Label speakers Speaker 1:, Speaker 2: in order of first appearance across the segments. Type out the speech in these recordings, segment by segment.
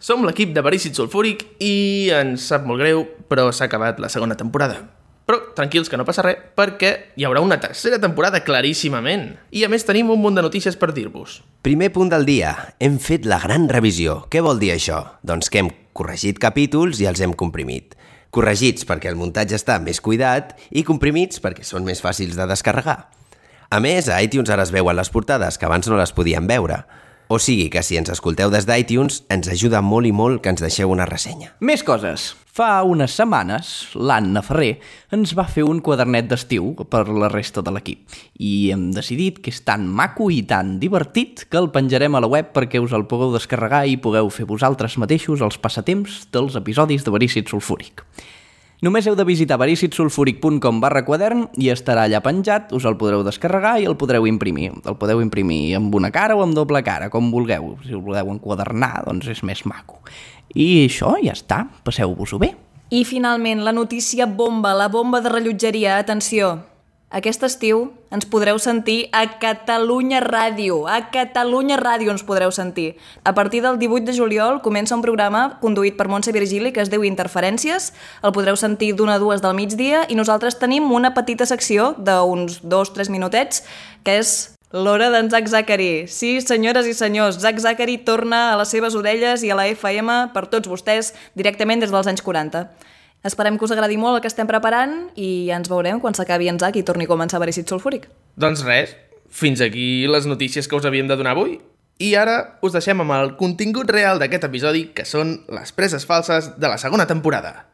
Speaker 1: Som l'equip de Verícid Sulfúric i ens sap molt greu, però s'ha acabat la segona temporada. Però tranquils que no passa res, perquè hi haurà una tercera temporada claríssimament. I a més tenim un munt de notícies per dir-vos.
Speaker 2: Primer punt del dia. Hem fet la gran revisió. Què vol dir això? Doncs que hem corregit capítols i els hem comprimit. Corregits perquè el muntatge està més cuidat i comprimits perquè són més fàcils de descarregar. A més, a iTunes ara es veuen les portades, que abans no les podíem veure. O sigui que si ens escolteu des d'iTunes, ens ajuda molt i molt que ens deixeu una ressenya.
Speaker 3: Més coses. Fa unes setmanes, l'Anna Ferrer ens va fer un quadernet d'estiu per la resta de l'equip i hem decidit que és tan maco i tan divertit que el penjarem a la web perquè us el pugueu descarregar i pugueu fer vosaltres mateixos els passatemps dels episodis de Verícid Sulfúric. Només heu de visitar vericidsulfuric.com barra quadern i estarà allà penjat, us el podreu descarregar i el podreu imprimir. El podeu imprimir amb una cara o amb doble cara, com vulgueu. Si el voleu enquadernar, doncs és més maco. I això ja està, passeu-vos-ho bé.
Speaker 4: I finalment, la notícia bomba, la bomba de rellotgeria, atenció. Aquest estiu ens podreu sentir a Catalunya Ràdio. A Catalunya Ràdio ens podreu sentir. A partir del 18 de juliol comença un programa conduït per Montse Virgili que es diu Interferències. El podreu sentir d'una a dues del migdia i nosaltres tenim una petita secció d'uns dos, tres minutets que és L'hora d'en Zac Zachary. Sí, senyores i senyors, Zac Zachary torna a les seves orelles i a la FM per tots vostès directament des dels anys 40. Esperem que us agradi molt el que estem preparant i ja ens veurem quan s'acabi en Zac i torni a començar Verícid Sulfúric.
Speaker 1: Doncs res, fins aquí les notícies que us havíem de donar avui. I ara us deixem amb el contingut real d'aquest episodi, que són les preses falses de la segona temporada.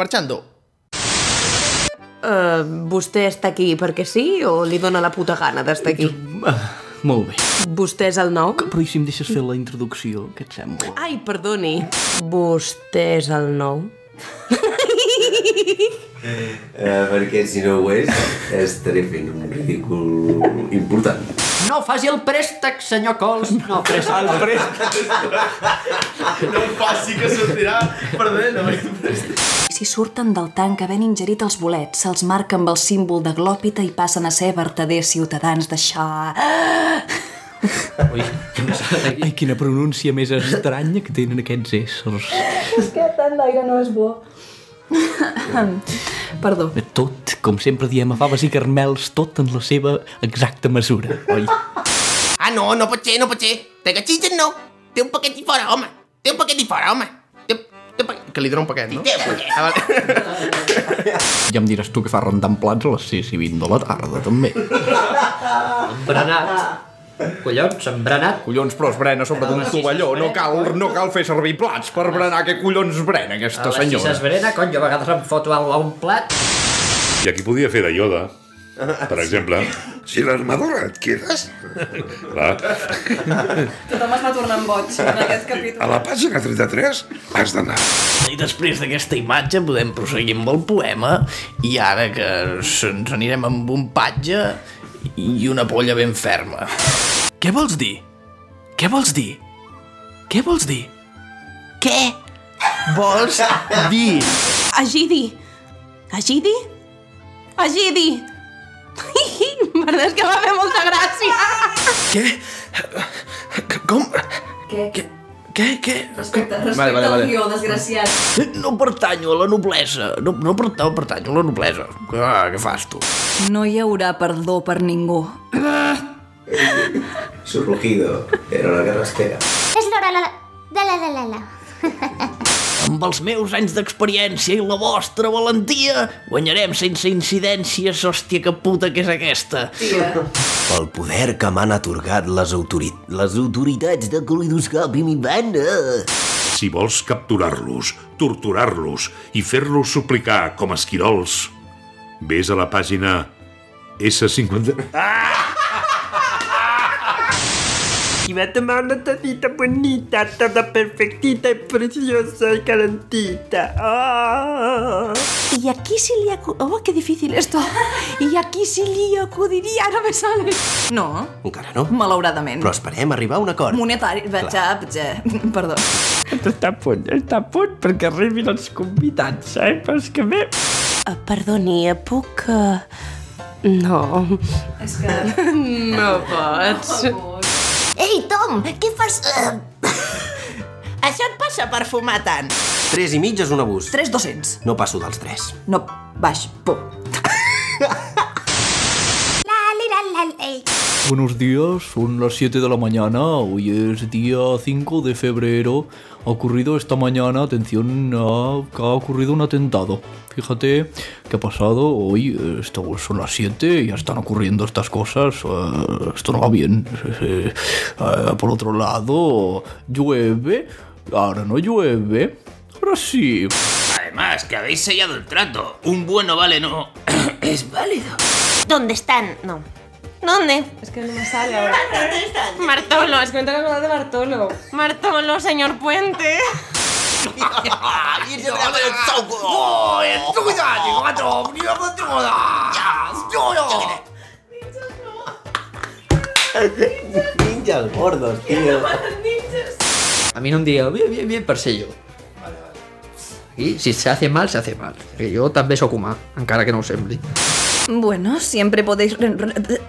Speaker 1: Marchando!
Speaker 5: Eh, vostè està aquí perquè sí o li dóna la puta gana d'estar aquí?
Speaker 3: Ah, molt bé.
Speaker 5: Vostè és el nou?
Speaker 3: Però i si em deixes fer la introducció, què et sembla?
Speaker 5: Ai, perdoni. Vostè és el nou?
Speaker 2: Eh, perquè si no ho és, estaré fent un ridícul important.
Speaker 3: No faci el préstec, senyor Cols. No, préstec. El préstec.
Speaker 1: No ho faci, que sortirà perdent.
Speaker 4: Si surten del tanc havent ingerit els bolets, se'ls marca amb el símbol de glòpita i passen a ser vertaders ciutadans d'això.
Speaker 3: Ui, quina, ai, quina pronúncia més estranya que tenen aquests éssers.
Speaker 4: És que tant d'aire no és bo. Perdó.
Speaker 3: Tot, com sempre diem a faves i carmels, tot en la seva exacta mesura, oi?
Speaker 6: Ah, no, no pot ser, no pot ser. Te cachilles no. Té un paquet i fora, home. Té un paquet i fora, home. Té, té un paquet.
Speaker 1: Que li dona un paquet, no?
Speaker 6: Té un paquet.
Speaker 1: Ah, vale.
Speaker 3: Ja em diràs tu que fa rentant plats a les 6 i 20 de la tarda, també.
Speaker 7: Embranat. Collons, embranat.
Speaker 8: Collons, però es brena sobre d'un tovalló. No cal, no cal fer servir plats per berenar. Què collons brena
Speaker 7: A
Speaker 8: aquesta
Speaker 7: les sis
Speaker 9: eh?
Speaker 8: senyora?
Speaker 7: es berena, cony, jo a vegades em foto alguna cosa a un plat.
Speaker 10: I aquí podia fer de Yoda, per exemple. Ah, Si l'armadura et quedes... Clar.
Speaker 4: Tothom es va tornant boig en aquest capítol.
Speaker 10: A la pàgina 33 has d'anar.
Speaker 3: I després d'aquesta imatge podem proseguir amb el poema i ara que ens anirem amb un patge i una polla ben ferma.
Speaker 1: Què vols dir? Què vols dir? Què vols dir?
Speaker 5: Què?
Speaker 1: Vols dir?
Speaker 5: Agidi! Agidi? Agidi! La veritat és que va fer molta gràcia!
Speaker 1: Què? Com?
Speaker 4: Què?
Speaker 1: Què? Què? Què?
Speaker 4: Respecte, respecte
Speaker 1: Vale, vale, vale.
Speaker 4: al guió, desgraciat.
Speaker 3: No pertanyo a la noblesa. No, no pertanyo, pertanyo a la noblesa. Ah, què fas tu?
Speaker 4: No hi haurà perdó per ningú.
Speaker 2: Su rugido era la que rasquera.
Speaker 11: Es l'hora la... de la la la la.
Speaker 3: Amb els meus anys d'experiència i la vostra valentia, guanyarem sense incidències, hòstia que puta que és aquesta.
Speaker 2: Pel poder que m'han atorgat les, autori... les autoritats de Calidoscopi, mi banda.
Speaker 10: Si vols capturar-los, torturar-los i fer-los suplicar com esquirols, vés a la pàgina S50...
Speaker 12: Y va a tomar una tacita bonita, toda perfectita y preciosa y calentita. ¡Ah!
Speaker 5: I aquí sí li acudiria... Oh, que difícil esto. I aquí sí li acudiria... No me sale.
Speaker 4: No,
Speaker 2: Encara no.
Speaker 4: malauradament.
Speaker 2: Però esperem arribar a un acord.
Speaker 4: Monetari... Ja, ja, perdó.
Speaker 12: Està a punt, està a punt perquè arribin els convidats, eh? Però és que bé...
Speaker 5: Eh, Perdoni, eh, puc... eh, No.
Speaker 4: És que...
Speaker 5: No pots.
Speaker 11: Ei, Tom, què fas? Eh,
Speaker 13: Això et passa per fumar tant.
Speaker 2: Tres i mig és un abús.
Speaker 13: 3,200.
Speaker 2: No passo dels tres.
Speaker 13: No, baix, pum.
Speaker 14: La, li, la, la, ey.
Speaker 12: Buenos días, son las 7 de la mañana, hoy es día 5 de febrero. Ha ocurrido esta mañana, atención, ah, que ha ocurrido un atentado. Fíjate que ha pasado hoy, eh, esto son las 7 y ya están ocurriendo estas cosas. eh, esto no va bien. Eh, eh, por otro lado, llueve, ahora no llueve, ahora sí.
Speaker 10: Además, que habéis sellado el trato. Un bueno vale no. es válido.
Speaker 5: ¿Dónde están? No. ¿Dónde? Es que no me sale ahora. ¿Dónde están? Martolo, es que me tengo que acordar de Bartolo. Martolo, señor Puente.
Speaker 2: Ninjas gordos, tío.
Speaker 3: A mí no un día, bien, bien, bien, per ser jo. Aquí, si se hace mal, se hace mal. Que jo també sóc humà, encara que no ho sembli.
Speaker 15: Bueno, siempre podéis... re- re-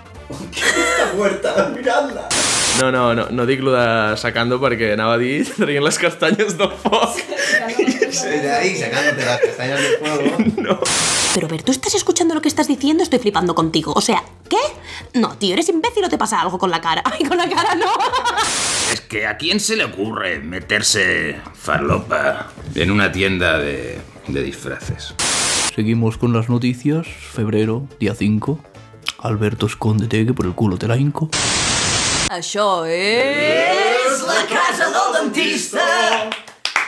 Speaker 16: No, no, no, no dic lo de sacando perquè anava a dir traient les castanyes del foc.
Speaker 2: Ahí sacándote las castañas del fuego.
Speaker 5: Pero, ver, ¿tú estás escuchando lo que estás diciendo? Estoy flipando contigo. O sea, ¿qué? No, tío, eres imbécil o te pasa algo con la cara. Ay, con la cara no.
Speaker 10: Es que a quién se le ocurre meterse farlopa en una tienda de, de disfraces.
Speaker 12: Seguimos con las noticias. Febrero, día 5. Alberto, escóndete que por el culo te la hinco.
Speaker 15: Això és...
Speaker 17: És la casa del dentista,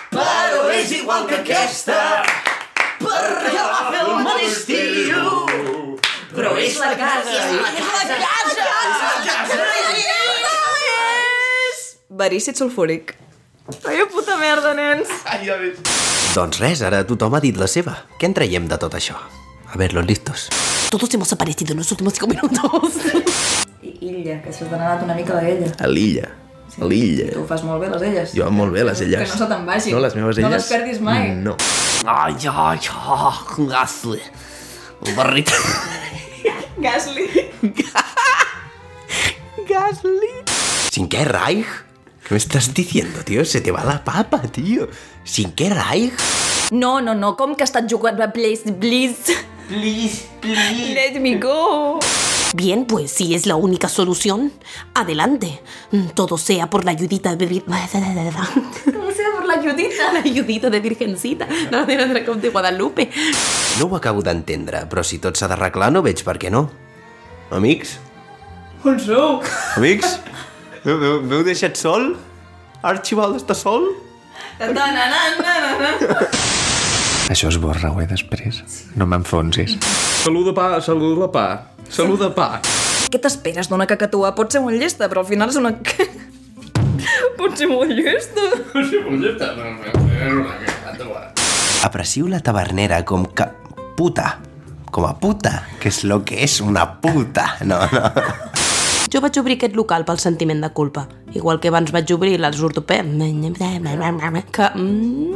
Speaker 17: però és igual que aquesta, perquè la va fer el Manestiu. Però és la casa, és la casa, és la casa.
Speaker 15: Verícit sulfúric. Ai, puta merda, nens.
Speaker 16: Ai, ja ves.
Speaker 2: Doncs res, ara tothom ha dit la seva. Què en traiem de tot això? A ver, los listos.
Speaker 5: Todos hemos aparecido en los últimos cinco minutos.
Speaker 4: Illa, que s'ha demanat una mica d'ella.
Speaker 16: A l'illa. A l'illa.
Speaker 4: Tu fas molt bé les elles.
Speaker 16: Jo molt bé, les elles.
Speaker 4: Que no se te'n vagin.
Speaker 16: No, les meves elles.
Speaker 4: No les perdis mai.
Speaker 16: No.
Speaker 17: Ai, ai, ai, Gasly. El barrit.
Speaker 4: Gasly.
Speaker 17: Gasly.
Speaker 2: ¿Cinquè Reich? ¿Qué me estás diciendo, tío? Se te va la papa, tío. ¿Cinquè Reich?
Speaker 15: No, no, no, com que estàs jugant a Please, please.
Speaker 5: Please, please.
Speaker 15: Let me go.
Speaker 5: Bien, pues si es la única solución, adelante. Todo sea por la ayudita de... vir-
Speaker 15: Com sea per la Judita.
Speaker 5: La ayudita de Virgencita. No, de la de Guadalupe.
Speaker 2: No ho acabo d'entendre, però si tot s'ha d'arreglar no veig per què no. Amics?
Speaker 4: On sou?
Speaker 2: Amics? M'heu- M'heu m'heu deixat sol? Archibald està sol?
Speaker 18: Això es borra, ho, eh, després. No m'enfonsis.
Speaker 16: Saluda pa, saluda pa. Saluda pa.
Speaker 15: Què t'esperes d'una cacatua? Pot ser molt llesta, però al final és una... Pot ser molt llesta. Pot ser molt llesta,
Speaker 2: Aprecio la tavernera com que... Puta. Com a puta, que és lo que és una puta. No, no.
Speaker 5: Jo vaig obrir aquest local pel sentiment de culpa. Igual que abans vaig obrir les ortopè... Que... Mm,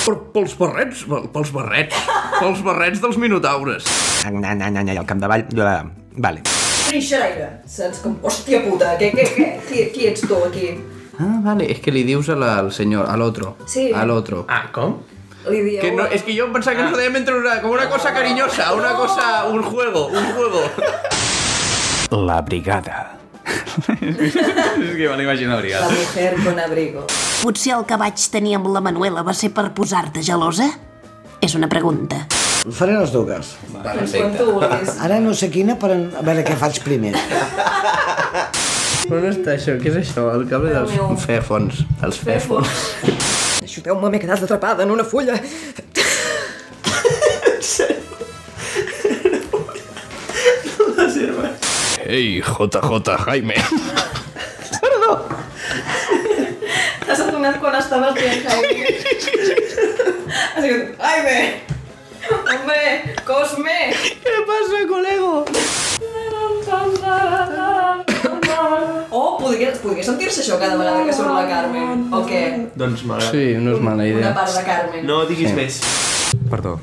Speaker 3: Per, pels barrets, pels barrets. Pels barrets dels minotaures.
Speaker 18: Na, na, na, na, al capdavall... jo la- Vale.
Speaker 4: Trinxeraire. Saps com... Hòstia puta, què, què, què? Qui, qui ets tu aquí?
Speaker 3: Ah, vale, és que li dius a la, al senyor, a l'altro.
Speaker 4: Sí.
Speaker 3: A l'altro. Ah, com?
Speaker 4: Li dieu...
Speaker 3: Que no, és que jo em pensava que ens ho dèiem entre una, com una cosa cariñosa, una cosa, un juego, un juego.
Speaker 18: La brigada. és que me l'imagino brigada.
Speaker 4: mujer con abrigo.
Speaker 5: potser el que vaig tenir amb la Manuela va ser per posar-te gelosa? És una pregunta.
Speaker 9: Faré les dues.
Speaker 5: Perfecte. Quan tu vulguis.
Speaker 9: Ara no sé quina, però a veure què faig primer.
Speaker 3: On està això? Què és això? El cable dels fèfons. Els fèfons.
Speaker 4: Ajudeu-me, m'he quedat atrapada en una fulla.
Speaker 12: Hey, JJ Jaime.
Speaker 4: Perdó. T'has adonat quan estaves dient Jaime. Has dit, Jaime, hombre, Cosme. Què passa, col·lego? Oh, podria, podria sentir-se això cada vegada que surt la Carmen, o què?
Speaker 3: Doncs mala. Sí, no és mala idea.
Speaker 4: Una part de Carmen.
Speaker 18: No
Speaker 3: diguis
Speaker 18: més. Perdó.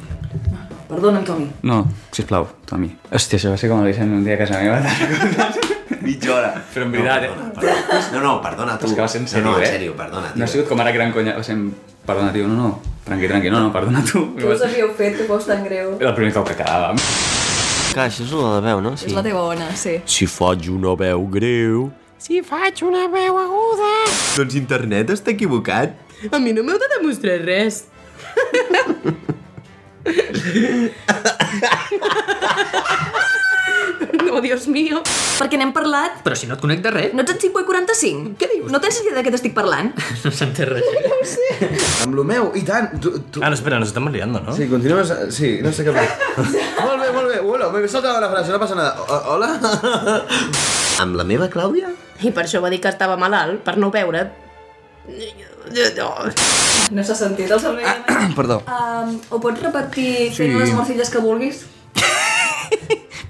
Speaker 4: Perdona'm, Tomi.
Speaker 18: No, sisplau, Tomi. Hòstia, això va ser com el Vicent un dia a casa meva.
Speaker 2: mitja hora.
Speaker 9: Però en veritat, eh?
Speaker 2: No, perdona, perdona. no, no, perdona tu.
Speaker 9: És que va ser en
Speaker 2: no,
Speaker 9: sèrio,
Speaker 2: no,
Speaker 9: eh?
Speaker 2: en sèrio, perdona, tio.
Speaker 9: No ha sigut com ara gran conya, o sigui, perdona, tio, no, no, tranqui, tranqui, no, no, perdona tu.
Speaker 19: Que us havíeu fet que fos tan greu.
Speaker 9: Era el primer cop que quedàvem.
Speaker 20: Clar, això és la de veu, no?
Speaker 4: És la teva ona, sí.
Speaker 20: Si faig una veu greu...
Speaker 5: Si faig una veu aguda...
Speaker 20: Doncs internet està equivocat.
Speaker 5: A mi no m'heu de demostrar res.
Speaker 4: Oh, Dios mío. Perquè n'hem parlat...
Speaker 7: Però si no et connecta res,
Speaker 4: No ets en 5 i 45? Què dius? No tens idea de què t'estic parlant?
Speaker 7: no s'entén res.
Speaker 21: Amb lo meu, i tant. Tu, tu...
Speaker 22: Ah, no, espera, nos estamos liando, ¿no?
Speaker 21: Sí, continues... Sí, no sé què fer. molt bé, molt bé. Hola, me salta la frase, no passa nada. O- Hola?
Speaker 2: Amb la meva Clàudia?
Speaker 5: I per això va dir que estava malalt, per no veure't.
Speaker 4: No s'ha sentit el servei. Ah,
Speaker 2: Perdó.
Speaker 4: um, ho pots repetir
Speaker 2: Sí.
Speaker 4: fent les morcilles que vulguis?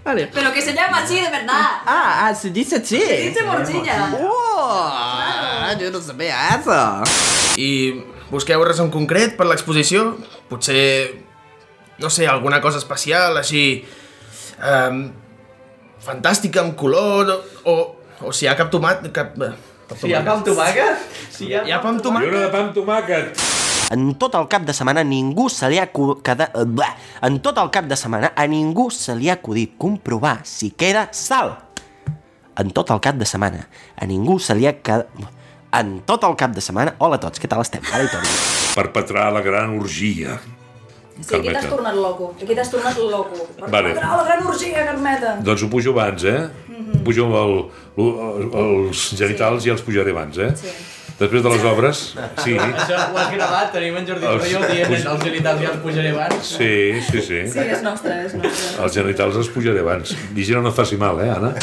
Speaker 23: Vale.
Speaker 4: Pero que se llama así de verdad.
Speaker 23: Ah, ah, se dice así.
Speaker 4: Se dice morcilla.
Speaker 23: Oh, yo no sabía eso.
Speaker 1: I busqueu res en concret per l'exposició? Potser, no sé, alguna cosa especial, així... Um, fantàstica, amb color, o, o si hi ha cap tomat... Cap, eh, cap
Speaker 20: Si hi ha
Speaker 1: tomàquet.
Speaker 20: cap tomàquet?
Speaker 1: Si hi ha, hi ha pa amb tomàquet? Jo no de pa amb tomàquet.
Speaker 20: En tot el cap de setmana ningú se li ha acu- queda... eh, bleh. En tot el cap de setmana a ningú se li ha acudit comprovar si queda sal. En tot el cap de setmana a ningú se li ha quedat... En tot el cap de setmana... Hola a tots, què tal estem? Ara hi torno.
Speaker 10: Perpetrar la gran orgia.
Speaker 4: Sí, aquí t'has tornat loco. Aquí t'has tornat loco. Per
Speaker 10: Vale.
Speaker 4: contra la gran orgia, Carmeta.
Speaker 10: Doncs ho pujo abans, eh? Pujo amb el, el, els genitals sí. i els pujaré abans, eh? Sí. Després de les obres, sí,
Speaker 3: Això ho has gravat, tenim en Jordi
Speaker 10: Els-
Speaker 3: Torrelló dient
Speaker 10: puja-
Speaker 3: els genitals ja els pujaré abans.
Speaker 10: sí, sí, sí.
Speaker 19: Sí, és nostre, és nostre.
Speaker 10: Els genitals els pujaré abans. Vigila no et faci mal, eh, Anna?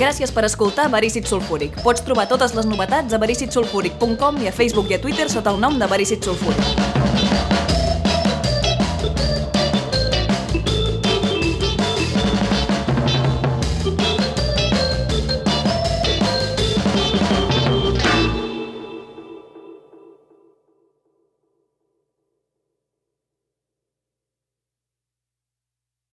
Speaker 4: Gràcies per escoltar Verícit Sulfúric. Pots trobar totes les novetats a vericitsulfúric.com i a Facebook i a Twitter sota el nom de Verícit Sulfúric.